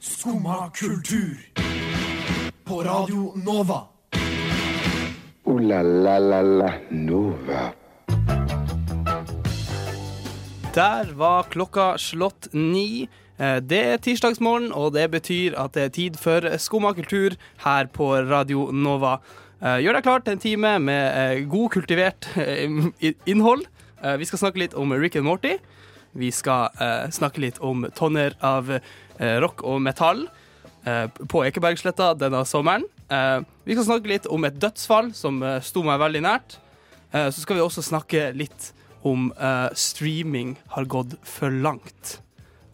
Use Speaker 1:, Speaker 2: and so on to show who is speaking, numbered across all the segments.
Speaker 1: Skumma kultur. På Radio Nova.
Speaker 2: Ooh la la la la Nova.
Speaker 3: Der var klokka slått ni. Eh, Det er tirsdagsmorgen, og det betyr at det er tid for Skumma kultur her på Radio Nova. Eh, Gjør deg klar til en time med eh, god, kultivert eh, i- innhold. Eh, Vi skal snakke litt om Rick and Morty. Vi skal eh, snakke litt om tonner av eh, rock og metall eh, på Ekebergsletta denne sommeren. Eh, Vi skal snakke litt om et dødsfall som eh, sto meg veldig nært. Eh, Så skal vi også snakke litt om eh, streaming har gått for langt.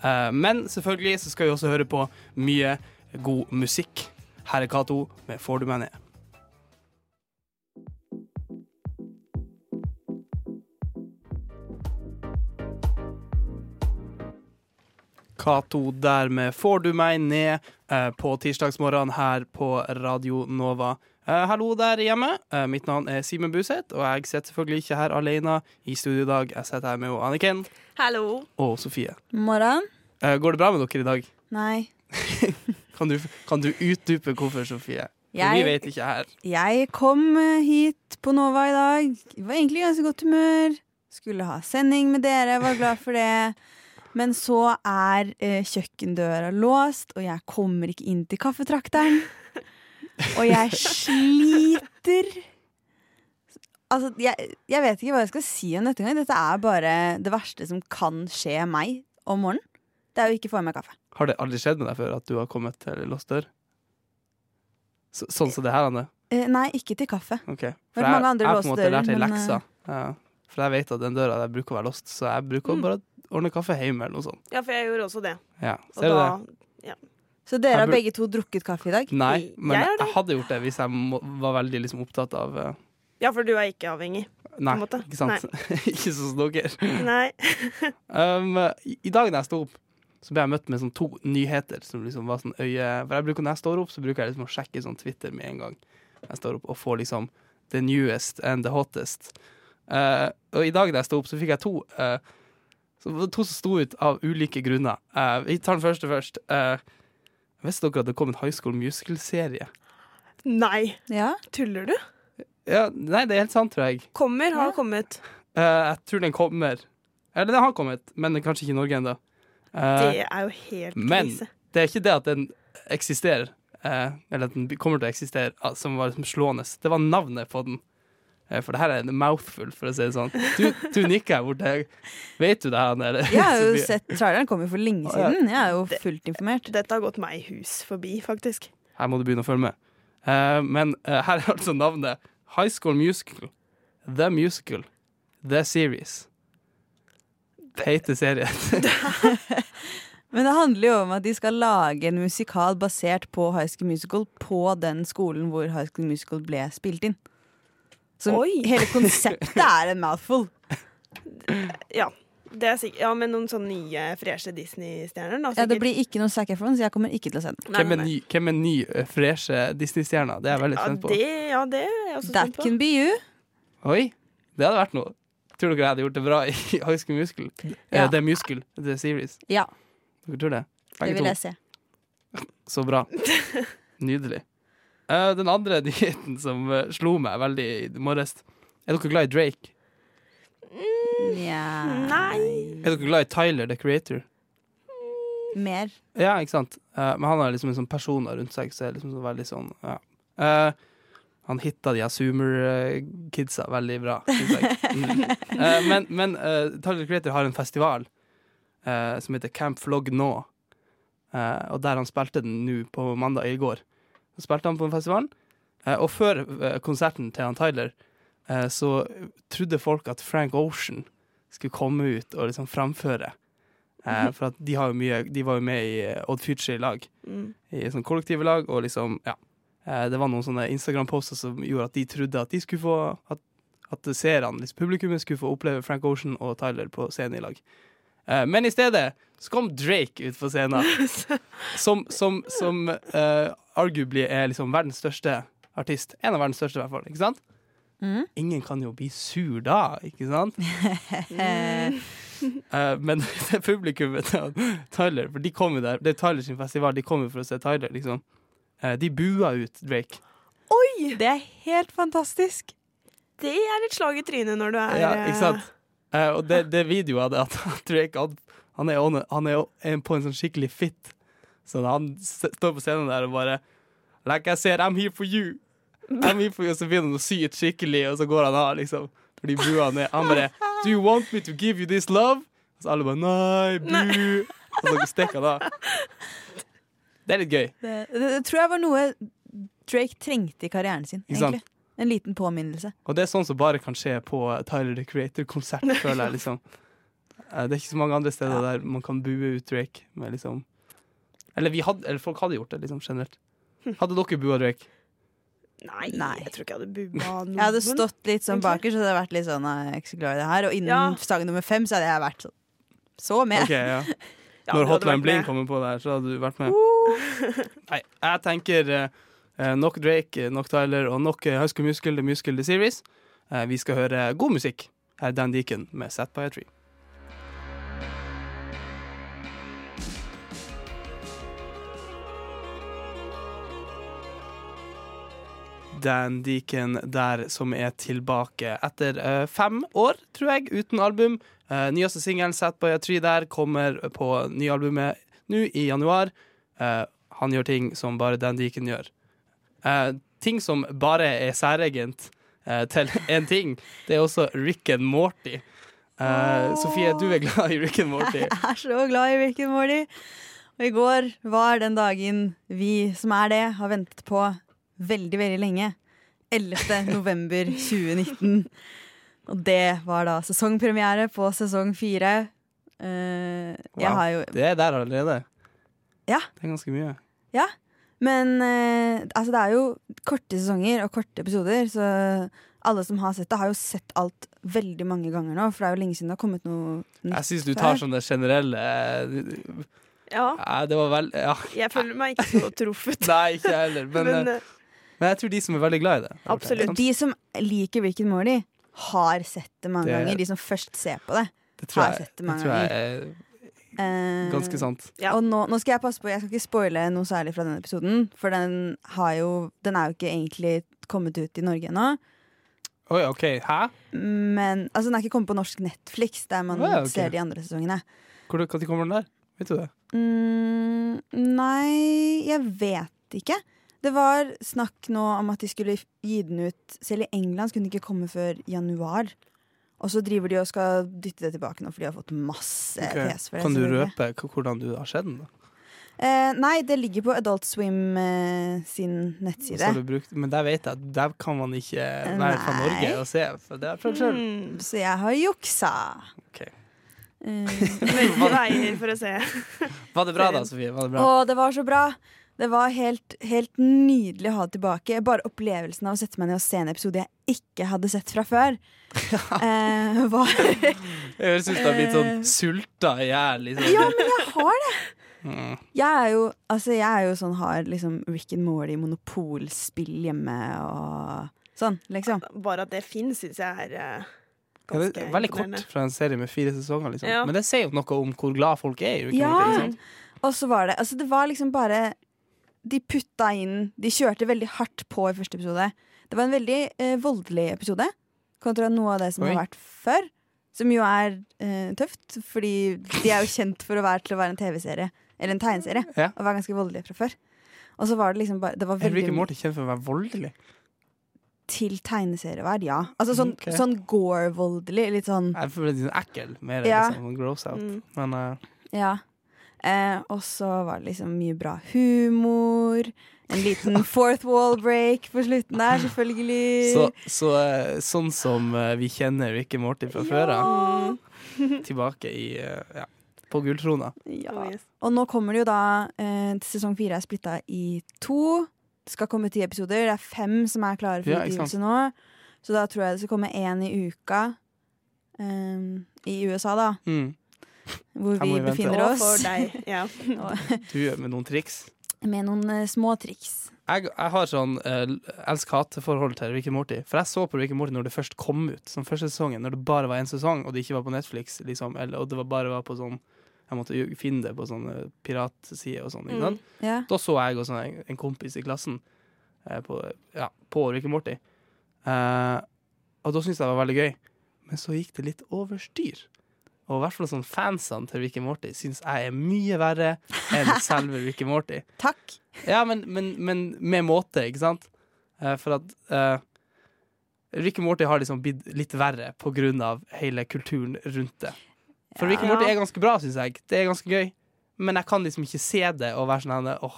Speaker 3: Eh, men selvfølgelig så skal vi også høre på mye god musikk. Her er Cato med 'Får du meg ned'. Cato der med 'Får du meg ned' eh, på tirsdagsmorgen her på Radio Nova. Eh, hallo der hjemme. Eh, mitt navn er Simen Buseth, og jeg sitter selvfølgelig ikke her alene i studio i dag. Jeg sitter her med jo Anniken
Speaker 4: Hallo.
Speaker 3: og Sofie.
Speaker 5: Morgen?
Speaker 3: Eh, går det bra med dere i dag?
Speaker 5: Nei.
Speaker 3: Kan du, kan du utdype hvorfor, Sofie? For Vi
Speaker 5: Jeg-
Speaker 3: vet ikke her.
Speaker 5: Jeg kom eh, hit på Nova i dag. Var egentlig i ganske godt humør. Skulle ha sending med dere, var glad for det. Men så er eh, kjøkkendøra låst, og jeg kommer ikke inn til kaffetrakteren. Og jeg sliter. Altså, jeg, jeg vet ikke hva jeg skal si om dette engang. Dette er bare det verste som kan skje meg om morgenen. Det er å ikke få i meg kaffe.
Speaker 3: Har det aldri skjedd med deg før at du har kommet til låst dør? Så, sånn som det her, Anne?
Speaker 5: Eh, nei, ikke til kaffe.
Speaker 3: Ok.
Speaker 5: Det har vært mange andre
Speaker 3: jeg har på en
Speaker 5: låste
Speaker 3: måte
Speaker 5: dører,
Speaker 3: lært ei
Speaker 5: men,
Speaker 4: eh,
Speaker 3: lekse. Ja. For jeg vet at den døra der bruker å være låst, så jeg bruker
Speaker 4: Mm.
Speaker 3: å bare ordne kaffe hjemme eller noe sånt.
Speaker 4: Ja, for jeg gjorde også det.
Speaker 3: Ja.
Speaker 4: Og
Speaker 3: Ser du
Speaker 4: da,
Speaker 3: det?
Speaker 5: Så dere
Speaker 3: Jeg
Speaker 5: har
Speaker 3: bur-
Speaker 5: begge to drukket kaffe i dag?
Speaker 3: Nei, men
Speaker 4: Jeg gjør
Speaker 3: jeg,
Speaker 4: det.
Speaker 3: hadde gjort det hvis jeg må, var veldig liksom, opptatt av eh,
Speaker 4: Ja, for du er ikke avhengig.
Speaker 3: Nei,
Speaker 4: en måte.
Speaker 3: ikke sant? ikke sånn som dere.
Speaker 4: Nei.
Speaker 3: Um, i, I dag da jeg sto opp, så ble jeg møtt med sånn to nyheter. Som liksom var sånn øye For jeg bruker, Når jeg står opp, så bruker jeg liksom å sjekke sånn Twitter med en gang. Jeg står opp Og får liksom the newest and the hottest. Eh, og i dag da jeg sto opp, så fikk jeg to eh, så var det To som sto ut av ulike grunner. Eh, vi tar den første først. Eh, visste dere at det kom en High School Musical-serie?
Speaker 4: Nei.
Speaker 5: Ja.
Speaker 4: Tuller du?
Speaker 3: Ja, nei, det er helt sant, tror jeg.
Speaker 4: Kommer, har
Speaker 5: Ja.
Speaker 4: kommet.
Speaker 3: Eh, jeg tror den kommer. Eller den har kommet, men den er kanskje ikke i Norge ennå. Eh,
Speaker 4: Det er jo helt
Speaker 3: men-
Speaker 4: krise.
Speaker 3: Det er ikke det at den eksisterer, eh, eller at den be- kommer til å eksistere, ah, som var liksom slående. Det var navnet på den. Eh, for det her er en mouthful, for å si det sånn. Du, du nikker her borte. Vet du det her nede?
Speaker 5: Jeg har jo
Speaker 3: Sofie?
Speaker 5: sett traileren kom jo for lenge
Speaker 3: Å, ja.
Speaker 5: siden. Jeg er jo fullt informert.
Speaker 4: Dette har gått meg hus forbi, faktisk.
Speaker 3: Her må du begynne å følge med. Eh, men eh, her er altså navnet. High School Musical. The Musical. The Series. Det heter serien.
Speaker 5: Men det handler jo om at de skal lage en musikal basert på High School Musical på den skolen hvor High School Musical ble spilt inn. Så
Speaker 4: Oi.
Speaker 5: hele konseptet er en mouthful.
Speaker 4: Ja. Det er sikkert. Ja, men noen sånne nye, freshe Disney-stjerner, da.
Speaker 5: Ja, det
Speaker 4: sikkert.
Speaker 5: blir ikke noe Zac Efron, så jeg kommer ikke til å se den.
Speaker 4: Nei,
Speaker 3: Hvem er
Speaker 4: nei, nei.
Speaker 3: ny, hvem er ny eh, freshe Disney-stjerner? Det er jeg veldig
Speaker 4: Ja
Speaker 3: spent på.
Speaker 4: det, ja, det er jeg også
Speaker 5: That
Speaker 4: spent på.
Speaker 5: can be you.
Speaker 3: Oi, det hadde vært noe. Tror dere jeg hadde gjort det bra i High School Musical? Eh,
Speaker 5: Ja.
Speaker 3: det er Musical, det er series.
Speaker 5: Ja,
Speaker 3: Dere tror det?
Speaker 5: det
Speaker 3: Begge
Speaker 5: vil
Speaker 3: to.
Speaker 5: jeg se.
Speaker 3: Så bra. Nydelig. Eh, den andre nyheten som eh, slo meg veldig i morges Er dere glad i Drake?
Speaker 5: Nja
Speaker 4: Mm, Nei.
Speaker 3: Er dere glad i Tyler, the creator?
Speaker 5: Mer.
Speaker 3: Ja, ikke sant? Eh, men han har liksom en sånn personer rundt seg, så er liksom så veldig sånn ja. Eh, Han hitta de her Zoomer-kidsa veldig bra, synes jeg. Mm. Eh, men men eh, Tyler the Creator har en festival eh, som heter Camp Flog Nå. Eh, og der han spilte den nå på mandag i går. Så spilte han på den festivalen. Eh, og før eh, konserten til han Tyler eh, så trodde folk at Frank Ocean skulle komme ut og liksom framføre. Eh, for at de, har jo mye, de var jo med i eh, Odd Future i lag,
Speaker 4: Mm.
Speaker 3: i sånn kollektive lag, og liksom, ja. Eh, det var noen sånne Instagram-poster som gjorde at de trodde at de skulle få At, at seerne, liksom publikummet, skulle få oppleve Frank Ocean og Tyler på scenen i lag. Eh, men i stedet så kom Drake ut på scenen, som, som, som eh, arguably er liksom verdens største artist. En av verdens største, i hvert fall. Ikke sant?
Speaker 5: Mhm.
Speaker 3: Ingen kan jo bli sur da, ikke sant?
Speaker 5: Eh,
Speaker 3: Eh, men det publikummet til Tyler, for de kom jo der, det er Tyler sin festival, de kom jo for å se Tyler, liksom. Eh, de bua ut Drake.
Speaker 5: Det er helt fantastisk.
Speaker 4: Det er et slag i trynet når du er
Speaker 3: Ja, ikke sant? Eh, og det, det videoet av det, at Drake han, han, er, on, han er jo en- på en sånn skikkelig fit. Så han s- står på scenen der og bare Like I said, I'm here for you. I'm here for you. Og så begynner han å sy et skikkelig, og så går han av, liksom. Fordi bua ned. Han bare Do you want me to give you this love? Og så alle bare Nei, bu. Og så stikker han av. Det er litt gøy.
Speaker 5: Det, det, det tror jeg var noe Drake trengte i karrieren sin.
Speaker 3: Ikke sant?
Speaker 5: egentlig. En liten påminnelse.
Speaker 3: Og det er sånn som bare kan skje på Tyler the Creator-konsert, føler jeg. liksom. Eh, Det er ikke så mange andre steder der man kan bue ut Drake. Med liksom. eller, vi hadde, eller folk hadde gjort det, liksom, generelt.
Speaker 4: Hm.
Speaker 3: Hadde dere bua Drake?
Speaker 4: Nei,
Speaker 5: Nei.
Speaker 4: jeg tror ikke jeg hadde bubba noen.
Speaker 5: Jeg hadde stått litt sånn
Speaker 4: egentlig.
Speaker 5: bakerst, så det hadde vært litt sånn «Nei, jeg er ikke så glad i det her. Og innen
Speaker 4: Ja.
Speaker 5: sang nummer fem så hadde jeg vært sånn. Så med.
Speaker 3: Ok, ja.
Speaker 4: Ja,
Speaker 3: Når
Speaker 4: det hadde vært
Speaker 3: Hotline Bling
Speaker 4: med.
Speaker 3: kommer på der, så hadde du vært med. Nei, jeg tenker eh, nok Drake, eh, nok Tyler og nok eh, High School Musical, The Musical, The Series. Eh, vi skal høre god musikk. Her er Dan Deacon med Set by a Tree. Dan Deacon der som er tilbake etter eh, fem år, tror jeg, uten album. Eh, nyeste singelen, Set by a Tree, der kommer på nyalbumet nå i januar. Eh, han gjør ting som bare Dan Deacon gjør. Eh, ting som bare er særegent eh, til én ting. Det er også Rick and Morty. Eh, Sofie, du er glad i Rick and Morty.
Speaker 5: Jeg er så glad i Rick and Morty. Og i går var den dagen vi som er det, har ventet på veldig, veldig lenge. 11. november 2019. Og det var da sesongpremiere på sesong fire. Eh, jeg
Speaker 3: Wow.
Speaker 5: har jo
Speaker 3: Det er der allerede.
Speaker 5: Ja.
Speaker 3: Det er ganske mye.
Speaker 5: Men eh, altså det er jo korte sesonger og korte episoder, så alle som har sett det, har jo sett alt veldig mange ganger nå, for det er jo lenge siden det har kommet noe nytt.
Speaker 3: Jeg syns du tar sånn det generelle
Speaker 4: Ja,
Speaker 3: eh, Det var vel Ja.
Speaker 4: jeg føler meg ikke så truffet.
Speaker 3: Nei, ikke jeg heller. Men,
Speaker 4: Men
Speaker 3: eh,
Speaker 4: eh,
Speaker 3: men jeg tror de som er veldig glad i det.
Speaker 4: Absolutt.
Speaker 3: sant?
Speaker 5: De som liker Rick and Morty, har sett det mange
Speaker 3: Det-
Speaker 5: ganger. De som først ser på det.
Speaker 3: Det tror
Speaker 5: har
Speaker 3: jeg,
Speaker 5: sett det
Speaker 3: det
Speaker 5: mange
Speaker 3: tror jeg er
Speaker 5: Eh,
Speaker 3: ganske sant.
Speaker 4: Ja.
Speaker 5: Og nå, nå skal jeg passe på, jeg skal ikke spoile noe særlig fra denne episoden, for den, har jo, den er jo ikke egentlig kommet ut i Norge ennå.
Speaker 3: Oi, OK. Hæ?
Speaker 5: Men altså, den er ikke kommet på norsk Netflix, der man
Speaker 3: Å ja, ok.
Speaker 5: ser de andre sesongene.
Speaker 3: Hvor, når kommer den der? Vet du det?
Speaker 5: Mm, nei, jeg vet ikke. Det var snakk nå om at de skulle gi den ut Selv i England skulle den ikke komme før januar. Og så driver de og skal dytte det tilbake nå, for de har fått masse
Speaker 3: Ok.
Speaker 5: pes for det.
Speaker 3: Kan du
Speaker 5: selvfølgelig.
Speaker 3: røpe k- hvordan du har sett den? da?
Speaker 5: Eh, nei, det ligger på Adult Swim eh, sin
Speaker 3: Og så har
Speaker 5: nettside.
Speaker 3: du brukt, men der vet jeg at der kan man ikke være fra
Speaker 5: Nei.
Speaker 3: Norge og se. For det er fra selv.
Speaker 4: mm,
Speaker 5: Så jeg har juksa.
Speaker 3: Ok.
Speaker 5: Eh,
Speaker 4: begge veier for å se.
Speaker 3: Var det bra da, Sofie? Var det bra?
Speaker 5: Å, det var så bra! Det var helt, helt nydelig å ha det tilbake. Bare opplevelsen av å sette meg ned og se en episode jeg ikke hadde sett fra før, eh, var
Speaker 3: Jeg høres ut som du har blitt
Speaker 4: eh,
Speaker 3: sånn sulta i hjel. Liksom.
Speaker 5: Ja, men jeg har det!
Speaker 3: Mm.
Speaker 5: Jeg er jo, altså, jeg er jo sånn har liksom Rick and Morty monopolspill hjemme og sånn, liksom.
Speaker 4: Bare at det fins, syns jeg er eh,
Speaker 3: Ja,
Speaker 4: ganske
Speaker 3: det er veldig kort
Speaker 4: imponerende.
Speaker 3: fra en serie med fire sesonger, liksom.
Speaker 4: Ja.
Speaker 3: men det sier jo noe om hvor glad folk er. i Rick and
Speaker 5: Ja.
Speaker 3: Morty, ikke liksom. sant?
Speaker 5: Og så var det Altså, det var liksom bare De putta inn De kjørte veldig hardt på i første episode. Det var en veldig eh, voldelig episode kontra noe av det som
Speaker 3: Oi.
Speaker 5: har vært før. Som jo er eh, tøft, fordi de er jo kjent for å være til å være en TV-serie eller en tegneserie.
Speaker 3: Ja.
Speaker 5: Og være ganske voldelige fra før. Og så var det liksom bare Det var
Speaker 3: Er Rick
Speaker 5: veldig
Speaker 3: and Morty kjent for å være voldelig?
Speaker 5: til tegneserieverd, ja. Altså sånn,
Speaker 3: Mm, Ok.
Speaker 5: sånn gore-voldelig. Litt sånn
Speaker 3: Jeg føler det er sånn ekkel mer enn
Speaker 5: Ja.
Speaker 3: liksom, gross out.
Speaker 4: Mm.
Speaker 3: Men eh,
Speaker 5: Ja. Eh, og så var det liksom mye bra humor. En liten fourth wall break på slutten der, selvfølgelig.
Speaker 3: Så, så, eh, sånn som eh, vi kjenner Rick and Morty fra før av,
Speaker 4: Mm,
Speaker 3: tilbake i, eh, ja, på gulltrona.
Speaker 5: Ja.
Speaker 4: oh yes.
Speaker 5: Og nå kommer det jo da eh, Sesong fire er splitta i to. Det skal komme ti episoder. Det er fem som er klare for
Speaker 3: Ja, ikke
Speaker 5: utgivelse nå. Så da tror jeg det skal komme én i uka eh, i USA, da.
Speaker 3: Mm.
Speaker 5: Hvor
Speaker 3: Her må vi
Speaker 5: vi
Speaker 3: vente.
Speaker 5: befinner
Speaker 4: Og
Speaker 5: oss.
Speaker 4: for deg. Ja.
Speaker 5: Og-
Speaker 3: Du med noen triks.
Speaker 5: Med noen eh, små triks.
Speaker 3: Jeg, jeg har sånn eh, elsk-hat-forhold til Rick and Morty. For jeg så på Rick and Morty når det først kom ut, som første sesongen, når det bare var én sesong, og det ikke var på Netflix, liksom, eller, og det var bare var på sånn Jeg måtte jo finne det på sånne piratsider og sånn. ikke sant?
Speaker 5: Ja.
Speaker 3: Da så jeg og sånn en, en kompis i klassen eh, på, ja, på Rick and Morty. Eh, og da syntes jeg det var veldig gøy. Men så gikk det litt over styr. Og i hvert fall sånn fansene til Rick and Morty syns jeg er mye verre enn selve Rick and Morty.
Speaker 5: Takk.
Speaker 3: Ja, men, men, men med måte, ikke sant? Eh, for at eh, Rick and Morty har liksom blitt litt verre på grunn av hele kulturen rundt det. For Rick and Morty er ganske bra, syns jeg. Det er ganske gøy. Men jeg kan liksom ikke se det og være sånn her Åh,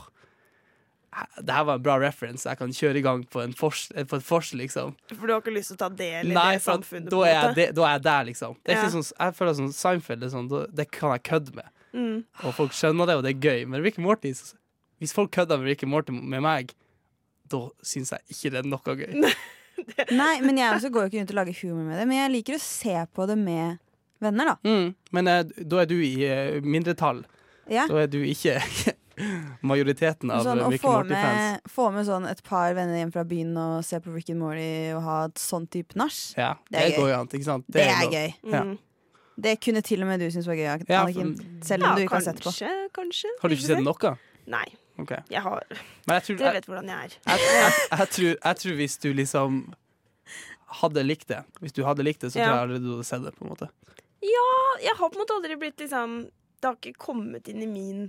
Speaker 3: det her var en bra reference. Jeg kan kjøre i gang på, en fors, eh, på et vors, liksom.
Speaker 4: For du har ikke lyst til å ta del i
Speaker 3: Nei,
Speaker 4: det
Speaker 3: for at
Speaker 4: samfunnet?
Speaker 3: da
Speaker 4: på
Speaker 3: er,
Speaker 4: en
Speaker 3: jeg
Speaker 4: måte.
Speaker 3: de, da er jeg der, liksom. Det er
Speaker 4: Ja.
Speaker 3: ikke sånn, jeg føler sånn Seinfeld er sånn, da- det kan jeg kødde med.
Speaker 4: Mm.
Speaker 3: Og folk skjønner det, og det er gøy. Men Rick and Morty så- Hvis folk kødder med Rick and Morty med meg, da syns jeg ikke det er noe gøy.
Speaker 5: Nei, men jeg også går jo ikke rundt og lager humor med det, men jeg liker å se på det med venner, da.
Speaker 3: Mm. Men eh, da er du i eh, mindretall.
Speaker 5: Ja.
Speaker 3: Da er du ikke majoriteten av
Speaker 5: Sånn, å
Speaker 3: Rick
Speaker 5: få
Speaker 3: and Morty-fans.
Speaker 5: med, få med sånn et par venner hjem fra byen og se på Rick and Morty og ha et sånn type nach,
Speaker 3: Ja,
Speaker 5: Det
Speaker 3: det,
Speaker 5: er gøy.
Speaker 3: går jo an, ikke sant?
Speaker 5: det er
Speaker 3: lov.
Speaker 5: gøy.
Speaker 3: Ja.
Speaker 4: Mm.
Speaker 5: Det kunne til og med du synes var gøy,
Speaker 3: Ja,
Speaker 5: Anniken. Selv
Speaker 4: Ja,
Speaker 5: om du ikke har sett på.
Speaker 4: kanskje, kanskje.
Speaker 3: Har du ikke sett noe?
Speaker 4: Nei.
Speaker 3: Ok.
Speaker 4: Jeg har
Speaker 3: Men jeg tror,
Speaker 4: Dere
Speaker 3: jeg,
Speaker 4: vet hvordan jeg er.
Speaker 3: jeg, jeg, jeg, tror, jeg tror hvis du liksom hadde likt det, Hvis du hadde likt det, så
Speaker 4: Ja.
Speaker 3: tror jeg allerede du hadde sett det. på en måte
Speaker 4: Jeg har på en måte aldri blitt liksom Det har ikke kommet inn i min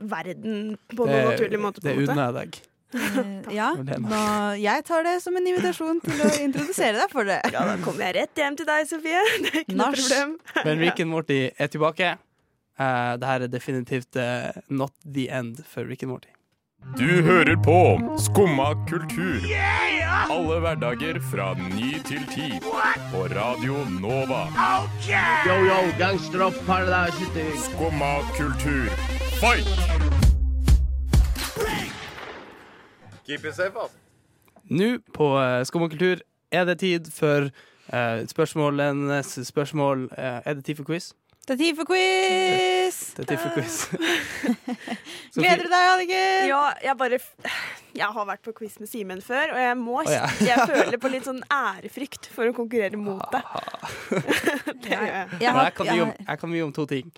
Speaker 4: verden på noen
Speaker 3: Det,
Speaker 4: naturlig måte. På
Speaker 3: det
Speaker 4: en måte.
Speaker 3: unner jeg deg.
Speaker 5: Eh, Ja,
Speaker 3: Lena.
Speaker 5: nå, jeg tar det som en invitasjon til å introdusere deg for det.
Speaker 4: Ja, da kommer jeg rett hjem til deg, Sofie. Det er ikke noe
Speaker 5: Nach.
Speaker 4: problem.
Speaker 3: Men Rick and Morty er tilbake. Uh, det her er definitivt eh, not the end for Rick and Morty.
Speaker 6: Du hører på Skumma kultur. Alle hverdager fra ny til ti. På Radio Nova.
Speaker 7: Yo, yo, gangsteropp, paradise.
Speaker 6: Skumma kultur. Fight!
Speaker 3: Nå på uh, Skum og kultur er det tid for eh, spørsmålenes spørsmål. Eh, er det tid for quiz?
Speaker 5: Det er tid for quiz!
Speaker 3: Det er tid
Speaker 4: Eh,
Speaker 3: for quiz. Sofie-
Speaker 5: Gleder du deg, Anniken?
Speaker 4: Ja, jeg bare f- Jeg har vært på quiz med Simen før, og jeg må
Speaker 3: ja.
Speaker 4: Jeg føler på litt sånn ærefrykt for å konkurrere mot deg. det gjør jeg.
Speaker 5: Jeg
Speaker 3: Og
Speaker 5: har-
Speaker 3: jeg kan, mye om, jeg kan mye om to ting.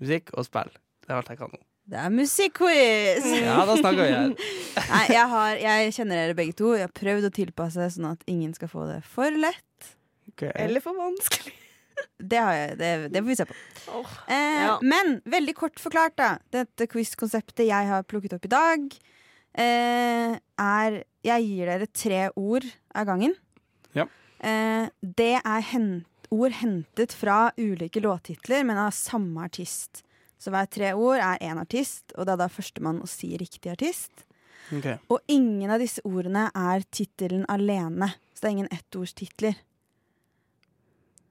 Speaker 3: Musikk og spill. Det er alt jeg kan om.
Speaker 5: Det er musikkquiz!
Speaker 3: Ja, da snakker vi her.
Speaker 5: Nei, jeg, har, jeg kjenner dere begge to. Jeg har prøvd å tilpasse sånn at ingen skal få det for lett.
Speaker 3: Okay.
Speaker 4: Eh, Eller for vanskelig.
Speaker 5: Det, har jeg, det, det får vi se på.
Speaker 4: Åh,
Speaker 5: Eh,
Speaker 4: ja.
Speaker 5: Men veldig kort forklart, da. Dette quiz-konseptet jeg har plukket opp i dag, eh, er Jeg gir dere tre ord av gangen.
Speaker 3: Ja.
Speaker 5: Eh, det er hen, ord hentet fra ulike låttitler, men av samme artist. Så hver tre ord er én artist, og det er da førstemann å si riktig artist.
Speaker 3: Ok.
Speaker 5: Og ingen av disse ordene er tittelen alene. Så det er ingen ettordstitler.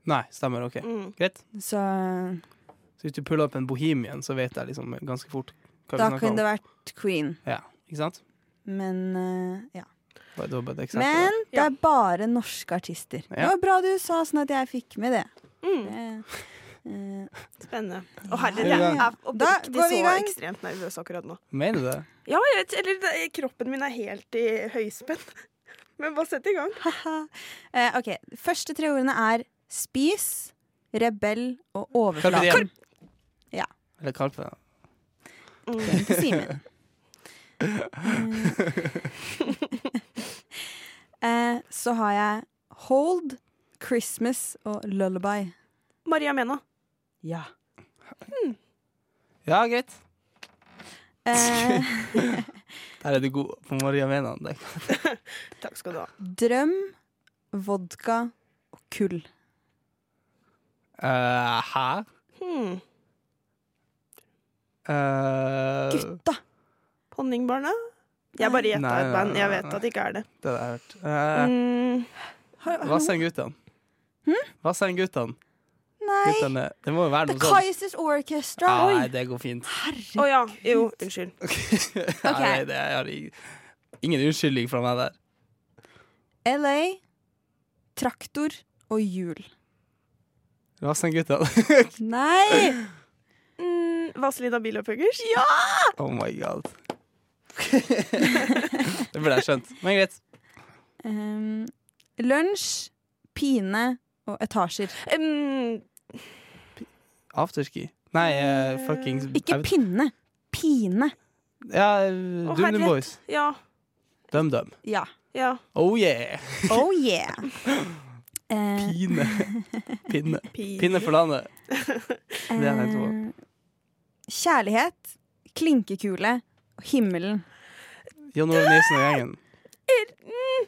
Speaker 3: Nei, stemmer. Ok.
Speaker 4: Mm.
Speaker 3: Greit.
Speaker 5: Så
Speaker 3: Så hvis du puller opp en Bohemian, så vet jeg liksom ganske fort hva vi
Speaker 5: da
Speaker 3: snakker
Speaker 5: kunne
Speaker 3: om.
Speaker 5: det vært Queen.
Speaker 3: Ja, ikke sant?
Speaker 5: Men eh, ja.
Speaker 3: Bare- Det var bare et eksempel.
Speaker 5: Men det
Speaker 4: Ja.
Speaker 5: er bare norske artister. Det
Speaker 3: Ja.
Speaker 5: var bra du sa sånn at jeg fikk med det.
Speaker 4: Mm,
Speaker 5: Eh, eh,
Speaker 4: spennende. Å herre,
Speaker 3: Er vi i
Speaker 4: jeg
Speaker 3: gang?
Speaker 4: er
Speaker 5: Da
Speaker 4: oppriktig
Speaker 5: går vi i
Speaker 4: så
Speaker 5: gang.
Speaker 4: ekstremt nervøs akkurat nå.
Speaker 3: Mener du det?
Speaker 4: Ja, jeg vet, eller det- kroppen min er helt i høyspenn. Men bare sett i gang.
Speaker 5: haha. Eh, OK. Første tre ordene er spis, rebell og
Speaker 3: Carpe
Speaker 5: overflate.
Speaker 3: Diem.
Speaker 5: Ja.
Speaker 3: Eller Karpe.
Speaker 5: Den til Simen. Eh, eh, Så har jeg Hold, Christmas og Lullaby.
Speaker 4: Maria Mena.
Speaker 5: Ja.
Speaker 3: Hmm. Ja, greit.
Speaker 5: Eh,
Speaker 3: Der er du god på Maria Menan. Det-
Speaker 4: Takk skal du ha.
Speaker 5: drøm, vodka og kull.
Speaker 3: Eh, hæ?
Speaker 4: Hmm.
Speaker 3: Eh,
Speaker 5: Gutta!
Speaker 4: Honningbarna? Jeg bare gjetta
Speaker 3: Nei,
Speaker 4: et
Speaker 3: nei,
Speaker 4: band.
Speaker 3: nei,
Speaker 4: Jeg
Speaker 3: nei,
Speaker 4: vet
Speaker 3: nei.
Speaker 4: at det ikke er det.
Speaker 3: det har jeg hørt. Eh,
Speaker 4: Mm.
Speaker 5: Har- har-
Speaker 3: Vassendguttene.
Speaker 5: Hm?
Speaker 3: Vassendguttene.
Speaker 5: Nei!
Speaker 3: Guttene- Det må jo være
Speaker 5: The
Speaker 3: noe sånt.
Speaker 5: Kaizers Orchestra!
Speaker 3: Ja,
Speaker 5: Oi.
Speaker 3: nei, det går fint.
Speaker 5: Herre.
Speaker 4: Å ja. Jo, unnskyld.
Speaker 3: Nei, det, det, jeg har i- ingen unnskyldning fra meg der.
Speaker 5: LA, traktor og hjul.
Speaker 3: Vassendguttene.
Speaker 5: Nei!
Speaker 4: Mm, Vazelina Bilopphøggers?
Speaker 3: oh my god. Det burde jeg skjønt. Men greit.
Speaker 5: Um, lunsj, pine og etasjer.
Speaker 4: Um,
Speaker 3: Afterski. Nei, uh, fuckings
Speaker 5: Ikke
Speaker 3: jeg vet-
Speaker 5: pinne. Pine.
Speaker 3: Ja, uh, DumDum
Speaker 4: herlighet.
Speaker 3: Boys.
Speaker 4: ja.
Speaker 3: DumDum.
Speaker 5: Ja.
Speaker 4: Ja.
Speaker 3: Oh yeah!
Speaker 5: Oh yeah. Eh,
Speaker 3: Pine. Pinne. Pinne for landet. Det er helt bra.
Speaker 5: eh, kjærlighet, klinkekule og himmelen.
Speaker 3: Jon Ove Nilsen og gjengen.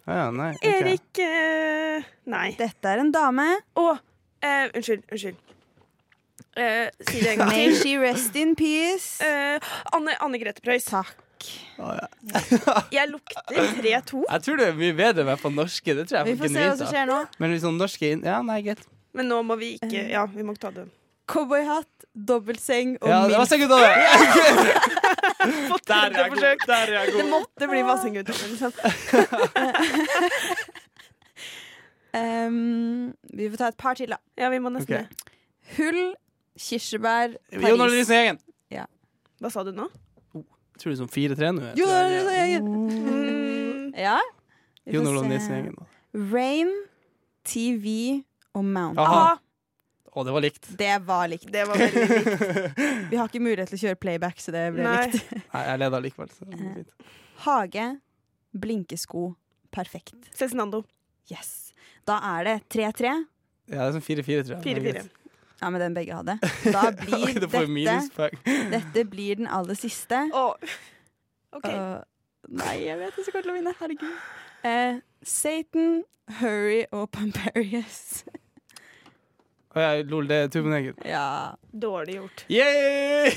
Speaker 3: Ja, ja, nei, ok.
Speaker 4: Erik eh, Nei.
Speaker 5: Dette er en dame.
Speaker 4: Å, eh, unnskyld. Unnskyld. Eh, si det en gang
Speaker 5: May
Speaker 4: til.
Speaker 5: she rest in peace.
Speaker 4: Eh, Anne, Anne Grete Preus.
Speaker 5: Takk.
Speaker 4: Jeg lukter 3-2,
Speaker 3: Jeg tror du er mye bedre enn meg på norske. Det tror jeg
Speaker 5: Vi får
Speaker 3: fucking
Speaker 5: se hva som
Speaker 3: driter.
Speaker 5: skjer nå.
Speaker 3: Men hvis noen norske inn Ja, nei, greit.
Speaker 4: men nå må vi ikke Ja, vi må ikke ta det.
Speaker 5: Cowboyhatt, dobbeltseng og
Speaker 3: Ja, det var
Speaker 5: milf.
Speaker 3: sikkert over. Der
Speaker 4: Der
Speaker 3: er jeg god. Der er jeg
Speaker 4: Det
Speaker 3: god.
Speaker 4: måtte bli Vassendguttormen, liksom.
Speaker 5: Um, vi får ta et par til, da.
Speaker 4: Ja, vi må nesten
Speaker 3: Ok.
Speaker 4: det.
Speaker 5: Hull, kirsebær,
Speaker 3: Jon Ove
Speaker 5: Paris.
Speaker 3: Nilsen og gjengen.
Speaker 4: Hva sa du nå?
Speaker 3: Tror du er sånn 4-3 nå? jeg
Speaker 5: Jo,
Speaker 3: tror jeg-
Speaker 4: Mm,
Speaker 5: Ja. Vi får
Speaker 3: Jon Olav
Speaker 5: se.
Speaker 3: Nilsen og gjengen.
Speaker 5: Rain, TV og Mountain.
Speaker 3: Aha.
Speaker 4: ah,
Speaker 3: Å, det var likt.
Speaker 5: Det var likt.
Speaker 4: det var veldig likt.
Speaker 5: Vi har ikke mulighet til å kjøre playback, så det ble
Speaker 4: Nei.
Speaker 5: likt.
Speaker 3: Nei, jeg leda likevel. Så det går fint.
Speaker 5: Hage, blinkesko, perfekt.
Speaker 4: Cezinando.
Speaker 5: Yes. Da er det 3-3.
Speaker 3: Ja, det er sånn 4-4, tror jeg.
Speaker 4: 4-4.
Speaker 5: Ja, med den begge hadde. Da blir
Speaker 3: Det får
Speaker 5: dette
Speaker 3: minuspoeng.
Speaker 5: Dette blir den aller siste.
Speaker 4: Å, OK.
Speaker 5: Og- nei, jeg vet ikke så kommer til å vinne. Herregud. Eh, Satan, Hurry og Pamperius.
Speaker 3: Å ja, lol, det er Tubeneggen.
Speaker 5: Ja.
Speaker 4: Dårlig gjort.
Speaker 3: Yeah!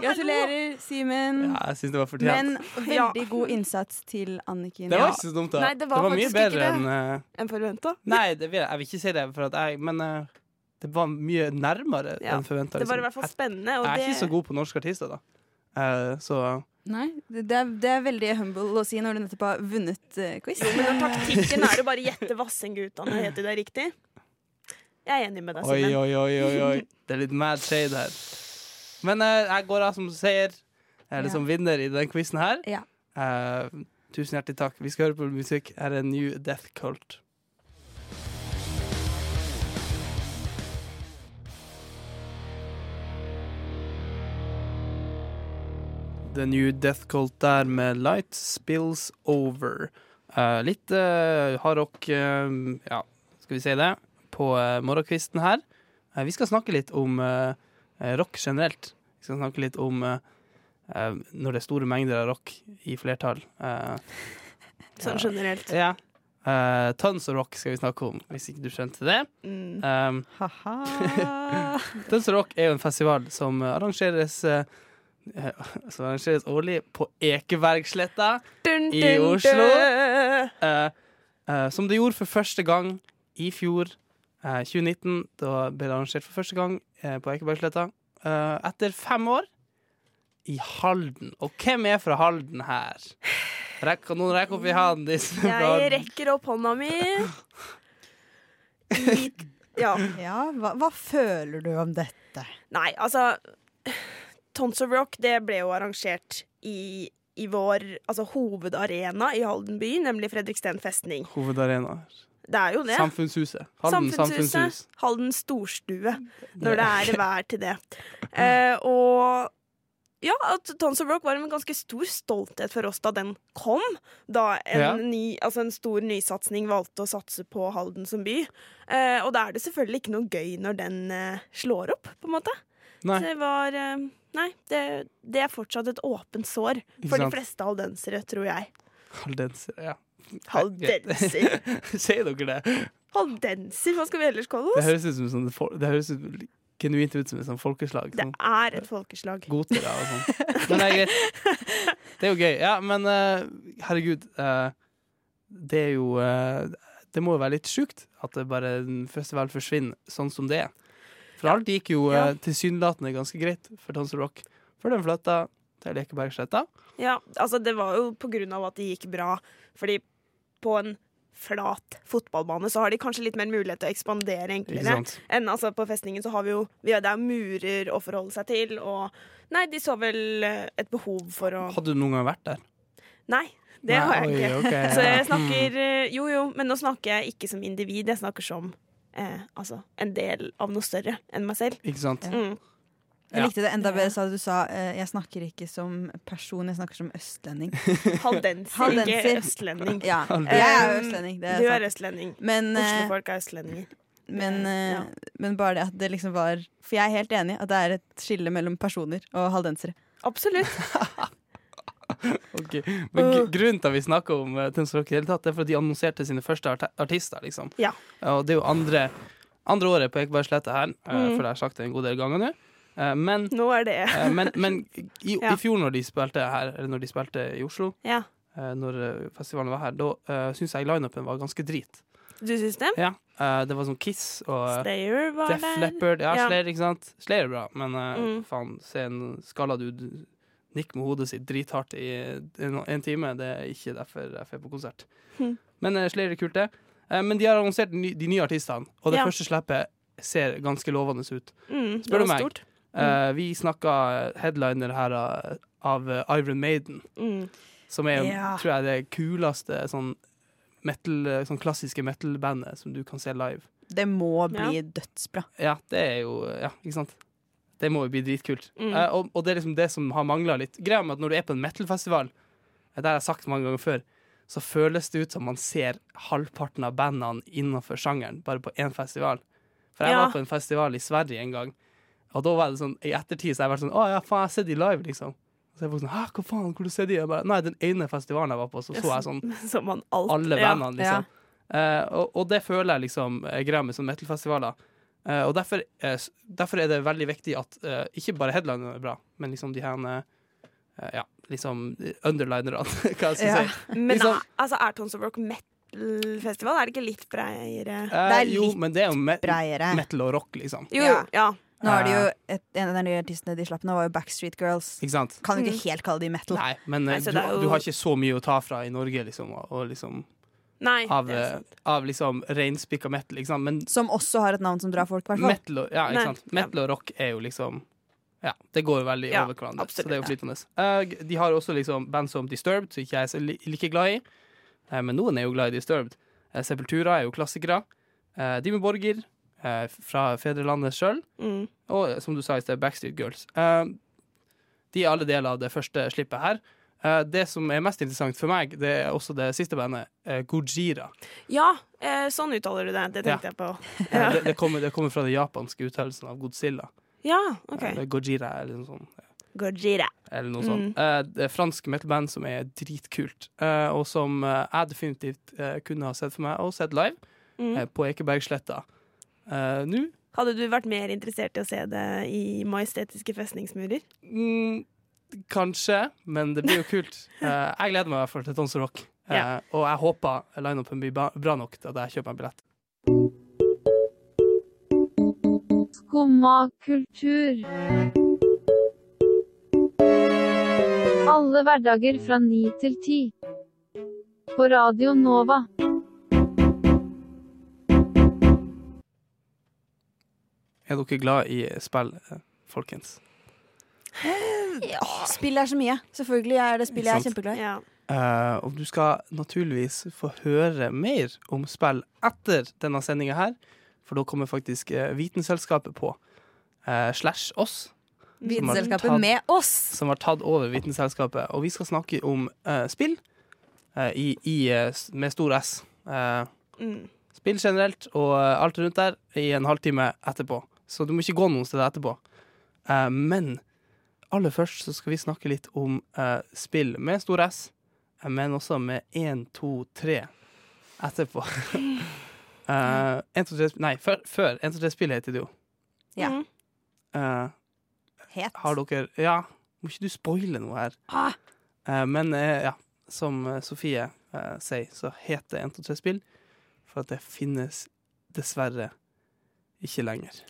Speaker 5: Gratulerer, Simen.
Speaker 3: Ja, jeg syns det var fortjent.
Speaker 5: Men veldig god innsats til Anniken.
Speaker 3: det var ikke så dumt, da.
Speaker 4: Nei, det var
Speaker 3: mye
Speaker 4: faktisk
Speaker 3: bedre
Speaker 4: ikke det.
Speaker 3: enn eh,
Speaker 4: Enn forventa.
Speaker 3: Nei, det vil jeg, jeg vil ikke si det, for at jeg, men eh, det var mye nærmere
Speaker 4: Ja,
Speaker 3: enn forventa.
Speaker 4: Det var i hvert fall spennende. Og
Speaker 3: liksom Jeg er
Speaker 4: det,
Speaker 3: ikke så god på norske artister, da. Eh, så
Speaker 5: Nei, det, det er, det er veldig humble å si når du nettopp har vunnet eh, quiz.
Speaker 4: Jo, men når taktikken er å bare gjette Vassendgutane, heter det riktig? Jeg er enig med deg,
Speaker 3: oi,
Speaker 4: Simen.
Speaker 3: oi, oi, oi, oi. Det er litt mad shade her. Men eh, jeg går av som seier, eller
Speaker 5: Ja.
Speaker 3: som vinner i den quizen her.
Speaker 5: Ja.
Speaker 3: Eh, tusen hjertelig takk. Vi skal høre på musikk. Her er New Death Cult. The New Death Cult der med Light Spills Over. Eh, litt uh, hardrock, eh, ja, skal vi si det, på eh, morgenkvisten her. Eh, vi skal snakke litt om eh, eh, rock generelt. Vi skal snakke litt om eh, eh, når det er store mengder av rock i flertall. Eh,
Speaker 4: Sånn generelt.
Speaker 3: ja. Eh, tons of rock skal vi snakke om, hvis ikke du skjønte det.
Speaker 4: Mm.
Speaker 3: Um,
Speaker 5: Ha-ha.
Speaker 3: Tønsberg Rock er jo en festival som eh, arrangeres eh, eh, som arrangeres årlig på Ekebergsletta
Speaker 4: Dun,
Speaker 3: i
Speaker 4: dun,
Speaker 3: Oslo.
Speaker 4: dun.
Speaker 3: eh, eh, som det gjorde for første gang i fjor, eh, 2019. Da ble det arrangert for første gang eh, på Ekebergsletta. eh, etter fem år i Halden. Og hvem er fra Halden her? Rekk, kan noen rekke opp i hånden, de som er fra
Speaker 4: Jeg
Speaker 3: Halden?
Speaker 4: rekker opp hånda mi. I, ja.
Speaker 5: Ja, hva, hva føler du om dette?
Speaker 4: Nei, altså Tons of Rock det ble jo arrangert i, i vår altså, hovedarena i Halden by, nemlig Fredriksten festning.
Speaker 3: Hovedarena.
Speaker 4: Det er jo det.
Speaker 3: Samfunnshuset. Halden
Speaker 4: Samfunnshuset.
Speaker 3: samfunnshus.
Speaker 4: Halden storstue, når det er vær til det. Eh, og ja, at Tons of Rock var en ganske stor stolthet for oss da den kom. Da en,
Speaker 3: Ja.
Speaker 4: ny, altså en stor nysatsing valgte å satse på Halden som by. Eh, og da er det selvfølgelig ikke noe gøy når den eh, slår opp, på en måte.
Speaker 3: Nei.
Speaker 4: Det var eh, Nei, det, det er fortsatt et åpent sår
Speaker 3: Ikke
Speaker 4: for de
Speaker 3: sant?
Speaker 4: fleste haldensere, tror jeg.
Speaker 3: Haldenser, ja.
Speaker 4: Haldenser.
Speaker 3: Sier dere det?
Speaker 4: Haldenser, hva skal vi ellers kalle
Speaker 3: Det
Speaker 4: oss?
Speaker 3: høres ut som sånn, fol- det høres ut, genuint ut som et sånt folkeslag.
Speaker 4: Det
Speaker 3: Sånn
Speaker 4: er et folkeslag.
Speaker 3: gotere og sånn. Men det er greit. Det er jo gøy. Ja, men eh, herregud. eh, det er jo eh, Det må jo være litt sjukt at det bare en festival forsvinner sånn som det er. For alt gikk jo
Speaker 4: Ja.
Speaker 3: eh, tilsynelatende ganske greit for Tons of Rock før den flytta til Lekebergsletta.
Speaker 4: Ja, altså det var jo på grunn av at det gikk bra. Fordi på en flat fotballbane, så har de kanskje litt mer mulighet til å ekspandere
Speaker 3: Ikke
Speaker 4: enklere.
Speaker 3: sant?
Speaker 4: Enn altså på festningen så har vi jo vi har, Det er murer å forholde seg til, og Nei, de så vel eh, et behov for å
Speaker 3: Hadde du noen gang vært der?
Speaker 4: Nei, det har jeg ikke.
Speaker 3: Oi, ok, ja.
Speaker 4: Så jeg snakker eh, Jo jo, men nå snakker jeg ikke som individ, jeg snakker som eh, altså, en del av noe større enn meg selv.
Speaker 3: Ikke sant?
Speaker 4: Mm.
Speaker 5: Jeg
Speaker 3: Ja.
Speaker 5: likte det enda bedre sa du sa eh, jeg snakker ikke som person, jeg snakker som østlending.
Speaker 4: Haldenser,
Speaker 5: Haldenser.
Speaker 4: ikke østlending.
Speaker 5: Ja,
Speaker 3: Aldri.
Speaker 5: jeg er jo østlending. Det
Speaker 4: Du
Speaker 5: er
Speaker 4: er
Speaker 5: sant.
Speaker 4: østlending.
Speaker 5: Men, eh,
Speaker 4: Oslofolk er østlendinger.
Speaker 5: men, eh,
Speaker 4: Ja.
Speaker 5: men bare det at det liksom var For jeg er helt enig at det er et skille mellom personer og haldensere.
Speaker 4: Absolutt.
Speaker 3: Ok. Men gr- grunnen til at vi snakker om uh, Tønsberg i det hele tatt, det er fordi de annonserte sine første arti- artister, liksom.
Speaker 4: Ja.
Speaker 3: Og det er jo andre, andre året på Ekebergsletta her, eh,
Speaker 4: Mm.
Speaker 3: for det har jeg sagt det en god del ganger nå. Eh, men
Speaker 4: Nå er det
Speaker 3: eh, men, men i,
Speaker 4: Ja.
Speaker 3: i fjor, når de spilte her, eller når de spilte i Oslo,
Speaker 4: Ja.
Speaker 3: eh, når eh, festivalen var her, da uh, syns jeg lineupen var ganske drit.
Speaker 4: Du syns det?
Speaker 3: Ja, eh, det var sånn Kiss og eh,
Speaker 4: Slayer var
Speaker 3: Def
Speaker 4: der.
Speaker 3: Leppard. Ja,
Speaker 4: Ja.
Speaker 3: Slayer, ikke sant? Slayer er bra, men eh,
Speaker 4: Mm.
Speaker 3: faen, se en skalla du nikk med hodet sitt drithardt i en, en time, det er ikke derfor jeg får på konsert.
Speaker 4: Hm.
Speaker 3: Men eh, Slayer er kult, det. Eh, men de har annonsert ny, de nye artistene, og det
Speaker 4: Ja.
Speaker 3: første slippet ser ganske lovende ut.
Speaker 4: Mm, det
Speaker 3: Spør du
Speaker 4: var
Speaker 3: meg?
Speaker 4: stort.
Speaker 3: Eh, vi snakka headliner her av, av eh, Iron Maiden,
Speaker 4: Mm.
Speaker 3: som er,
Speaker 4: Ja.
Speaker 3: tror jeg, det kuleste sånn metal, sånn klassiske metal-bandet som du kan se live.
Speaker 5: Det må bli dødsbra.
Speaker 3: Ja, det er jo Ja, ikke sant? Det må jo bli dritkult.
Speaker 4: Mm.
Speaker 3: Eh, og, og det er liksom det som har mangla litt. Greia med at når du er på en metal-festival, eh, det har jeg sagt mange ganger før, så føles det ut som man ser halvparten av bandene innenfor sjangeren, bare på én festival. For jeg
Speaker 4: Ja.
Speaker 3: var på en festival i Sverige en gang, og da var det sånn i ettertid så har jeg vært sånn Å ja, faen, jeg har sett de live, liksom. Og så er folk sånn Hæ, hva faen, hvor du ser de? Jeg bare, Nei, den ene festivalen jeg var på, så så jeg sånn
Speaker 4: Som man alt.
Speaker 3: alle
Speaker 4: Ja.
Speaker 3: bandene, liksom. Eh, og, og det føler jeg liksom er greia med sånne metal-festivaler. Eh, og derfor, eh, s- derfor er det veldig viktig at eh, ikke bare headlinerne er bra, men liksom de her eh, eh, Ja, liksom underlinerne, hva jeg skal
Speaker 5: Ja.
Speaker 3: si.
Speaker 4: Men
Speaker 3: Liksom-
Speaker 4: er- altså, er Tons of Rock metal-festival? Er det ikke litt breiere?
Speaker 3: Eh,
Speaker 5: Det er
Speaker 3: jo,
Speaker 5: litt
Speaker 3: men det er jo me
Speaker 5: Breiere.
Speaker 3: metal og rock, liksom.
Speaker 4: Jo,
Speaker 5: Ja.
Speaker 4: ja.
Speaker 5: Nå er det jo et, En av de nye artistene de slapp nå, var jo Backstreet Girls.
Speaker 3: Ikke sant?
Speaker 5: Kan jo ikke helt kalle de metal.
Speaker 3: Nei, men eh,
Speaker 4: Nei, så
Speaker 3: du,
Speaker 4: det er jo-
Speaker 3: du har ikke så mye å ta fra i Norge, liksom, og, og liksom
Speaker 4: Nei.
Speaker 3: av,
Speaker 4: det er sant.
Speaker 3: eh, av liksom reinspikka metal, ikke sant. Men
Speaker 5: Som også har et navn som drar folk, i hvert fall.
Speaker 3: Metal og, ja,
Speaker 4: Nei,
Speaker 3: ikke sant?
Speaker 4: ja.
Speaker 3: Metal og rock er jo liksom Ja, det går veldig
Speaker 4: Ja,
Speaker 3: over hverandre.
Speaker 4: absolutt,
Speaker 3: så det er jo flytende. Eh, g- de har også liksom band som Disturbed, som ikke jeg er så li like glad i. Eh, men noen er jo glad i Disturbed. Eh, Sepultura er jo klassikere. Uh, Dimmy Borger eh, fra fedrelandet sjøl.
Speaker 4: Mm.
Speaker 3: Og eh, som du sa i sted, Backstreet Girls. Eh, de er alle deler av det første slippet her. Eh, det som er mest interessant for meg, det er også det siste bandet, eh, Gojira.
Speaker 4: Ja, eh, sånn uttaler du det. Det tenkte jeg på.
Speaker 3: Eh, det, det, kommer, det kommer fra den japanske uttalelsen av Godzilla.
Speaker 4: Ja, OK.
Speaker 3: Eh, Gojira er liksom sånn
Speaker 4: Gojira.
Speaker 3: eller noe
Speaker 4: Mm.
Speaker 3: sånt. Eh, det er fransk metalband som er dritkult, eh, og som eh, jeg definitivt eh, kunne ha sett for meg, og sett live,
Speaker 4: Mm.
Speaker 3: eh, på Ekebergsletta. Eh, Nå
Speaker 4: Hadde du vært mer interessert i å se det i majestetiske festningsmurer?
Speaker 3: mm, Kanskje, men det blir jo kult. Eh, jeg gleder meg i hvert fall til Tons og Rock, eh,
Speaker 4: Ja.
Speaker 3: og jeg håper lineupen blir ba- bra nok til at jeg kjøper meg billett.
Speaker 8: Skumma kultur. Alle hverdager fra ni til ti. På Radio Nova.
Speaker 3: Er dere glad i spill, eh, folkens?
Speaker 5: Spill er så mye. Selvfølgelig er det spill jeg er
Speaker 3: Sant.
Speaker 5: kjempeglad i.
Speaker 4: Ja.
Speaker 3: Eh, og du skal naturligvis få høre mer om spill etter denne sendinga her, for da kommer faktisk eh, Vitenselskapet på, eh, slash oss, Som
Speaker 5: Vitenselskapet
Speaker 3: har tatt-
Speaker 5: med oss!
Speaker 3: som har tatt over Vitenselskapet. Og vi skal snakke om eh, spill eh, i, i, eh, s- med stor S. Eh,
Speaker 4: Mm.
Speaker 3: spill generelt og eh, alt rundt der i en halvtime etterpå. Så du må ikke gå noen steder etterpå. Eh, men aller først så skal vi snakke litt om eh, spill med stor S, eh, men også med 1, 2, 3 etterpå. uh, 1, 2, 3, nei, før, før 1, 2, 3 spill heter det jo.
Speaker 5: Ja.
Speaker 4: Mm.
Speaker 3: Eh,
Speaker 5: Het.
Speaker 3: har dere Ja, må ikke du spoile noe her?
Speaker 5: Ah.
Speaker 3: Eh, men eh, ja, som eh, Sofie eh, sier, så heter 123-spill for at det finnes dessverre ikke lenger.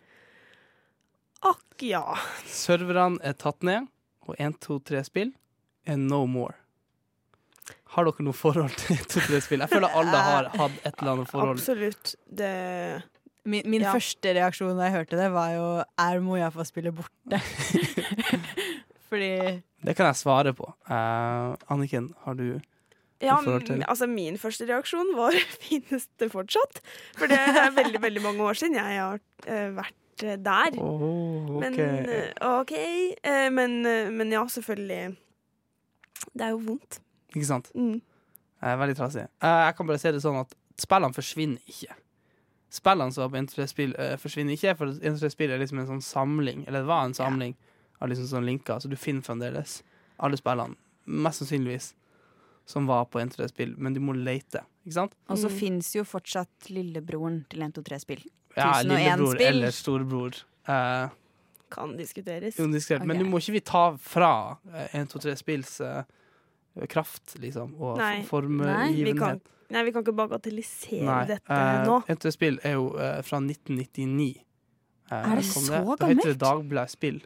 Speaker 4: Akk ja.
Speaker 3: Serverne er tatt ned, og 123-spill er no more. Har dere noe forhold til til det spillet? Jeg føler alle har hatt et eller annet forhold.
Speaker 4: Absolutt. Det
Speaker 5: Min, min
Speaker 4: Ja.
Speaker 5: første reaksjon da jeg hørte det, var jo Er Mojafa-spillet borte? Fordi
Speaker 3: Det kan jeg svare på. Eh, Anniken, har du
Speaker 4: Ja,
Speaker 3: i forhold til-
Speaker 4: m- altså Min første reaksjon var finnes det fortsatt. For det er veldig veldig mange år siden jeg har eh, vært eh, der.
Speaker 3: oh,
Speaker 4: Men eh, OK. eh, men, eh, men ja, selvfølgelig. Det er jo vondt.
Speaker 3: Ikke sant?
Speaker 4: Mm.
Speaker 3: Jeg er veldig trassig. Eh, jeg kan bare si det sånn at spillene forsvinner ikke. Spillene som var på Interspill uh, forsvinner ikke, for Interspill er liksom en sånn samling, eller det var en samling, av liksom sånne linker, så du finner fremdeles alle spillene, mest sannsynligvis, som var på Interspill, men du må lete, ikke sant?
Speaker 5: Og så
Speaker 4: Mm.
Speaker 5: fins jo fortsatt lillebroren til 123-spill.
Speaker 3: Ja,
Speaker 5: 1001
Speaker 3: lillebror
Speaker 5: spill.
Speaker 3: eller storebror. eh,
Speaker 4: Kan diskuteres.
Speaker 3: Undiskret. Men
Speaker 5: Ok.
Speaker 3: nå må ikke vi ta fra 1, 2, 3 spills eh, kraft, liksom, og
Speaker 4: Nei.
Speaker 5: Nei,
Speaker 4: Vi kan,
Speaker 3: formgivenhet.
Speaker 4: nei, vi kan ikke bagatellisere dette
Speaker 3: eh,
Speaker 4: nå.
Speaker 3: 1, 2, 3 spill er jo eh, fra 1999. Eh,
Speaker 5: Er det
Speaker 3: kom
Speaker 5: så
Speaker 3: Da heter det
Speaker 5: gammelt? Hm.
Speaker 3: Dagbladet Spill.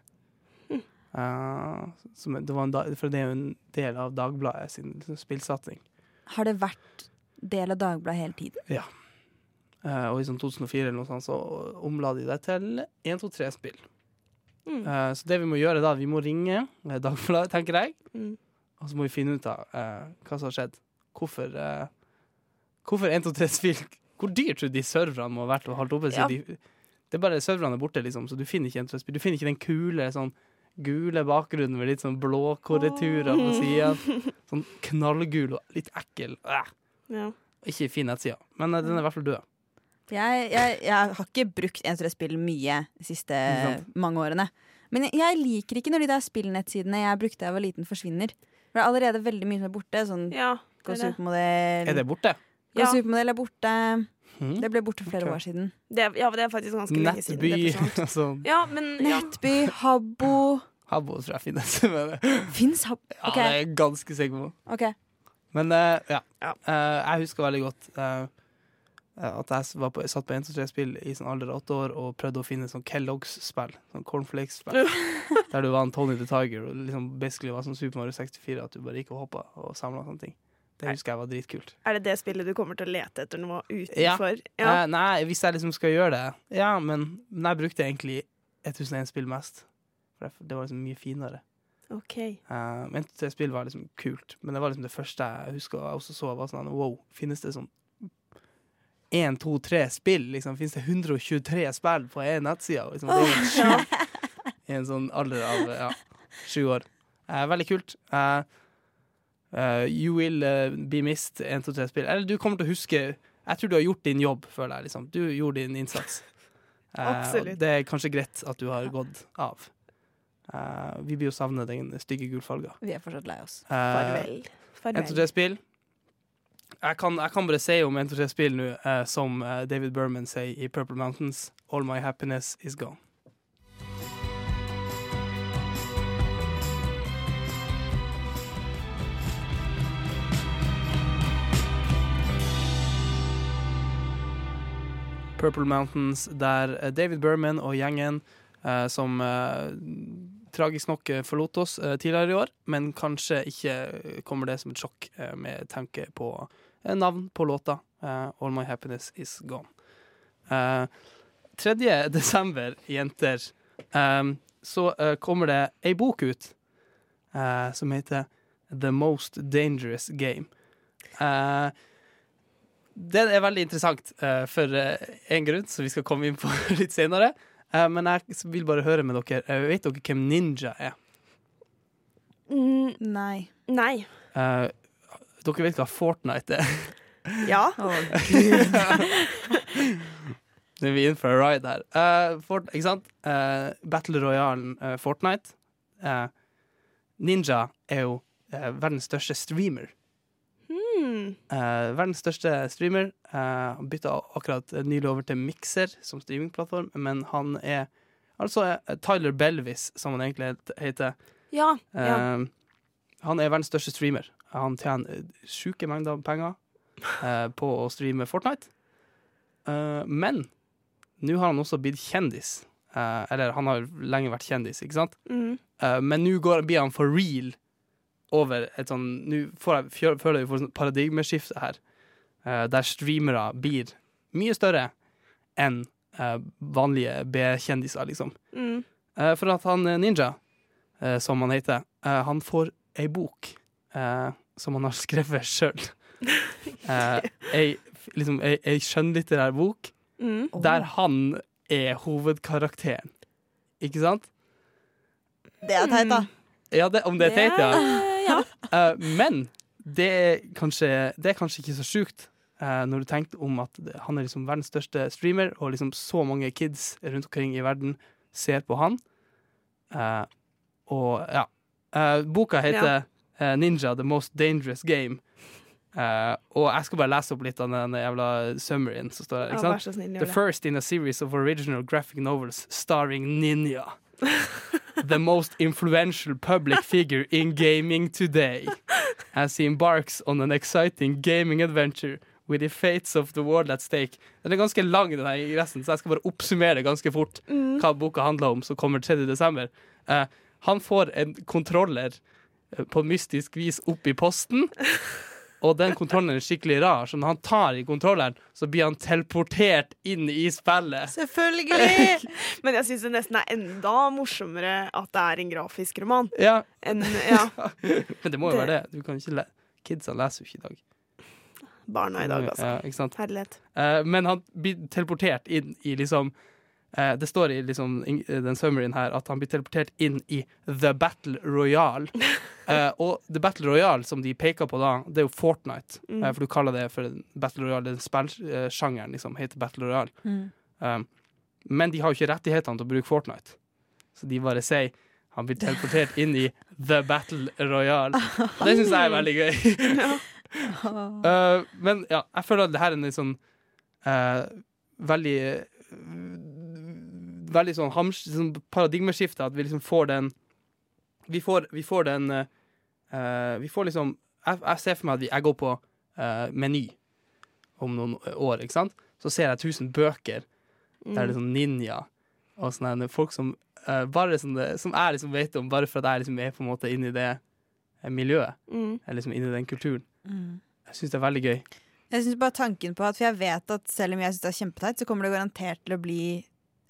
Speaker 3: Eh, som, det var en da, for det er jo en del av Dagbladet sin spillsatsing.
Speaker 5: Har det vært del av Dagbladet hele tiden?
Speaker 3: Eh, og i sånn 2004 eller noe sånt, så omla de det til 1, 2, 3 spill.
Speaker 4: Mm.
Speaker 3: Eh, så det vi må gjøre da, vi må ringe eh, Dagbladet, tenker jeg.
Speaker 4: Mm.
Speaker 3: Og så må vi finne ut av eh, hva som har skjedd. Hvorfor, eh, hvorfor 1, 2, 3 spill Hvor dyrt tror du de serverne må ha vært å holde oppe?
Speaker 4: Ja.
Speaker 3: siden De, det er bare serverne er borte, liksom, så du finner ikke 1, 2, 3 spill. Du finner ikke den kule sånn gule bakgrunnen med litt sånn blå korreturer på siden Sånn knallgul og litt ekkel. Æh,
Speaker 4: Ja.
Speaker 3: ikke fin nettside. Men eh, den er i hvert fall død.
Speaker 5: Jeg, jeg, jeg har ikke brukt 123-spill mye de siste
Speaker 3: Ikke sant.
Speaker 5: mange årene. Men jeg, jeg liker ikke når de der spillnettsidene jeg brukte da jeg var liten, forsvinner. For det er allerede veldig mye som er borte. Sånn
Speaker 4: ja
Speaker 5: Gå
Speaker 4: det er det. Mm.
Speaker 5: supermodell
Speaker 3: Er det borte?
Speaker 5: Gå
Speaker 4: Ja.
Speaker 5: supermodell er borte.
Speaker 3: Hmm?
Speaker 5: Det ble borte for flere
Speaker 3: Ok.
Speaker 5: år siden.
Speaker 4: Det, er- ja, det er faktisk ganske lenge siden.
Speaker 3: Nettby
Speaker 4: det er sant.
Speaker 3: altså,
Speaker 4: Ja, men ja.
Speaker 5: Nettby, Habbo
Speaker 3: Habbo tror jeg finnes. Men,
Speaker 5: Fins Habbo?
Speaker 3: ja,
Speaker 5: Ok.
Speaker 3: det er jeg ganske sikker på.
Speaker 5: ok.
Speaker 3: Men eh, ja.
Speaker 4: Ja.
Speaker 3: Eh, jeg husker veldig godt eh, at jeg s- var på, satt på 1-2-3-spill i sånn alder av åtte år og prøvde å finne sånn Kellogg's-spill. Sånn Cornflakes-spill. der du var en Tony the Tiger og liksom basically var som Super Mario 64. At du bare gikk og hoppa og samla sånne ting. Det husker jeg var dritkult.
Speaker 4: Er det det spillet du kommer til å lete etter nå
Speaker 3: Ja.
Speaker 4: utenfor? Ja.
Speaker 3: Eh, nei, hvis jeg liksom skal gjøre det Ja, men men jeg brukte egentlig 1001-spill mest. For det- det var liksom mye finere.
Speaker 4: OK.
Speaker 3: Uh, men det spillet var liksom kult, men det var liksom det første jeg husker jeg også så. var sånn, Wow, finnes det sånn 1, 2, 3 spill? Liksom, finnes det 123 spill på én nettside? Liksom, det er jo sjukt i en sånn alder av ja, sju år. Eh, veldig kult. Eh, eh, you will eh, be missed 1, 2, 3 spill. Eller du kommer til å huske Jeg tror du har gjort din jobb, føler jeg. Liksom. Du gjorde din innsats. Eh, og
Speaker 4: Absolutt.
Speaker 3: det er kanskje greit at du har gått av. Eh, vi blir jo savne den stygge gulfarga.
Speaker 5: Vi er fortsatt lei oss.
Speaker 3: Uh,
Speaker 4: Farvel.
Speaker 3: 1-2-3-spill. Jeg kan, jeg kan bare si om 1-2-3-spill nå, eh, som eh, David Berman sier i Purple Mountains, All my happiness is gone. Purple Mountains, der eh, David Berman og gjengen eh, som eh, tragisk nok eh, forlot oss eh, tidligere i år, men kanskje ikke eh, kommer det som et sjokk eh, med tanke på eh, navn på låta eh, All My Happiness Is Gone. Eh, 3. desember, jenter, eh, så eh, kommer det ei bok ut eh, som heter The Most Dangerous Game. Eh, den er veldig interessant eh, for én grunn, som vi skal komme inn på litt senere. Eh, men jeg vil bare høre med dere. Eh, vet dere hvem ninja er?
Speaker 4: Mm,
Speaker 5: Nei.
Speaker 4: nei.
Speaker 3: Eh, dere vet hva Fortnite er?
Speaker 4: Ja.
Speaker 5: Å,
Speaker 3: Nå er vi inne for a ride her. Eh, Fort, ikke sant? Eh, Battle Royalen eh, Fortnite. Eh, ninja er jo eh, verdens største streamer.
Speaker 4: Mm.
Speaker 3: Eh, verdens største streamer. Eh, han bytta akkurat eh, nylig over til Mixer som streamingplattform, men han er altså eh, Tyler Belvis, som han egentlig het- heter.
Speaker 4: Ja. ja.
Speaker 3: Eh, han er verdens største streamer. Han tjener eh, sjuke mengder penger eh, på å streame Fortnite. Eh, men nå har han også blitt kjendis. Eh, eller han har lenge vært kjendis, ikke sant?
Speaker 4: Mm.
Speaker 3: Eh, men nå går- blir han for real over et sånn Nå får jeg, fjø- føler jeg vi får et paradigmeskifte her, eh, der streamere blir mye større enn eh, vanlige B-kjendiser, liksom.
Speaker 4: Mm.
Speaker 3: Eh, for at han eh, Ninja, eh, som han heter, eh, han får ei bok eh, som han har skrevet sjøl. Eh, ei, liksom, ei, ei skjønnlitterær bok
Speaker 4: Mm.
Speaker 3: der han er hovedkarakteren. Ikke sant?
Speaker 5: Det er teit, da.
Speaker 3: Ja, det, om det er teit, ja.
Speaker 4: Eh, ja.
Speaker 3: Eh, men det er, kanskje, det er kanskje ikke så sjukt eh, når du tenker om at det- han er liksom verdens største streamer, og liksom så mange kids rundt omkring i verden ser på han. Eh, og ja. Eh, boka heter eh, 'Ninja The Most Dangerous Game'. Eh, og jeg skal bare lese opp litt av den jævla summaryen som står her.
Speaker 4: Ja,
Speaker 3: Ikke
Speaker 4: vær
Speaker 3: sant?
Speaker 4: så snill,
Speaker 3: The
Speaker 4: gjør det.
Speaker 3: first in a series of original graphic novels starring Ninja. The most influential public figure in gaming today. As he embarks on an exciting gaming adventure with the fates of the world at stake. Den er ganske lang, den her ingressen, så jeg skal bare oppsummere ganske fort
Speaker 4: Mm.
Speaker 3: hva boka handler om, som kommer 3. desember. Eh, han får en kontroller eh, på mystisk vis opp i posten. Og den kontrolleren er skikkelig rar, så når han tar i kontrolleren, så blir han teleportert inn i spillet.
Speaker 5: Selvfølgelig!
Speaker 4: Men jeg syns det nesten er enda morsommere at det er en grafisk roman.
Speaker 3: Ja,
Speaker 4: Enn ja,
Speaker 3: Men det må jo
Speaker 4: Det-
Speaker 3: være det. Du kan ikke le Kidsa leser jo ikke i dag.
Speaker 4: barna i dag, altså.
Speaker 3: Ja, ikke sant?
Speaker 4: Herlighet.
Speaker 3: Eh, men han blir teleportert inn i liksom eh, Det står i liksom, in, den summaryen her at han blir teleportert inn i The Battle Royale. Eh, og The Battle Royale som de peker på da, det er jo Fortnite. Eh, for du kaller det for Battle Royale. Den spillsjangeren liksom, heter Battle Royale. Um, men de har jo ikke rettighetene til å bruke Fortnite. Så de bare sier han blir teleportert inn i The Battle Royale. Og det syns jeg er veldig gøy. Uh, men ja, jeg føler at det her er en litt sånn eh, veldig Veldig sånn, hams, sånn paradigmeskifte, at vi liksom får den Vi får, vi får den eh, eh, Vi får liksom jeg, jeg ser for meg at vi, jeg går på eh, Meny om noen år, ikke sant? Så ser jeg 1000 bøker der det er sånn ninja og sånne her folk som eh, bare sånne, Som jeg liksom vet om, bare for at jeg liksom er på en måte inne i det eh, miljøet.
Speaker 4: Mm.
Speaker 3: Jeg er liksom inne i den kulturen. Jeg syns det er veldig gøy.
Speaker 5: Jeg synes bare tanken på at For jeg vet at selv om jeg syns det er kjempeteit, så kommer det garantert til å bli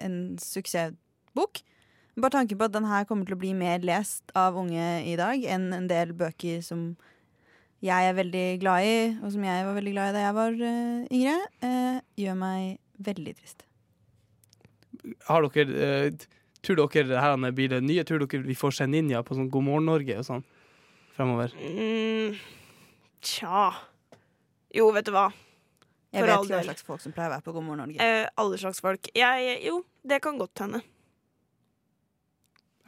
Speaker 5: en suksessbok. Bare tanken på at den her kommer til å bli mer lest av unge i dag enn en del bøker som jeg er veldig glad i, og som jeg var veldig glad i da jeg var eh, yngre, eh, gjør meg veldig trist.
Speaker 3: Har dere eh, t- Tror dere det her blir det nye? Tror dere vi får se ninja på sånn God morgen Norge og sånn fremover?
Speaker 4: Mm. Tja. Jo, vet du hva.
Speaker 5: Jeg
Speaker 4: For all
Speaker 5: vet ikke hva
Speaker 4: del.
Speaker 5: slags folk som pleier å være på God morgen Norge.
Speaker 4: Eh, alle slags folk. Jeg Jo, det kan godt hende.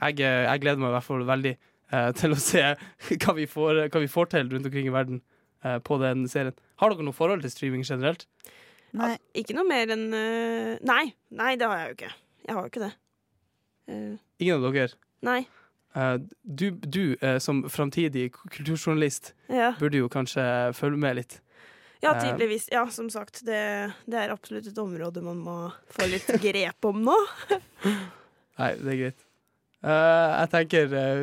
Speaker 3: Jeg, eh, jeg gleder meg i hvert fall veldig eh, til å se hva vi, får, hva vi får til rundt omkring i verden eh, på den serien. Har dere noe forhold til streaming generelt?
Speaker 5: Nei,
Speaker 4: Ikke noe mer enn eh, Nei. Nei, det har jeg jo ikke. Jeg har jo ikke det. Eh,
Speaker 3: Ingen av dere?
Speaker 4: nei.
Speaker 3: Eh, du du eh, som framtidig k- kulturjournalist
Speaker 4: Ja.
Speaker 3: burde jo kanskje følge med litt.
Speaker 4: ja,
Speaker 3: Eh.
Speaker 4: tydeligvis. Ja, som sagt. Det, det er absolutt et område man må få litt grep om nå.
Speaker 3: Nei, det er greit. Eh, jeg tenker eh,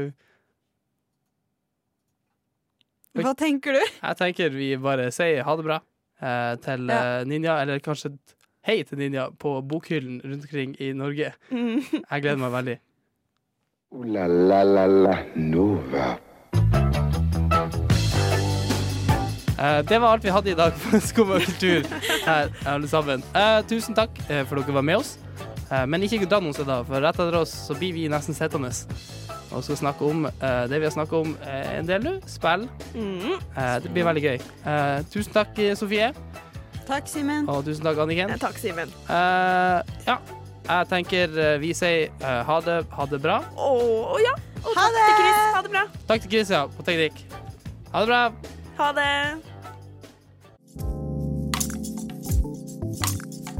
Speaker 3: Oi.
Speaker 5: hva tenker du?
Speaker 3: Jeg tenker vi bare sier ha det bra eh, til eh, Ninja, eller kanskje et hei til Ninja på bokhyllen rundt omkring i Norge.
Speaker 4: Mm.
Speaker 3: Jeg gleder meg veldig.
Speaker 2: Ooh la la la la Nova.
Speaker 3: Eh, det var alt vi hadde i dag for Skum og kultur her, alle sammen. Eh, tusen takk eh, for dere var med oss. Eh, men ikke dra noen steder, for rett etter oss så blir vi nesten sittende og skal snakke om eh, det vi har snakket om eh, en del nå. Spill.
Speaker 4: Mm.
Speaker 3: Eh, det blir veldig gøy. Eh, tusen takk, eh, Sofie,
Speaker 5: Takk, Simen.
Speaker 3: og tusen takk, Anniken.
Speaker 4: Takk, Simen.
Speaker 3: Eh, ja. Jeg tenker eh, vi sier eh, ha det, ha det bra.
Speaker 4: Å ja. Og
Speaker 5: Ha
Speaker 4: takk til
Speaker 5: det!
Speaker 4: Chris. Ha det bra.
Speaker 3: Takk til Christian på teknikk. Ha det bra.
Speaker 4: Ha det.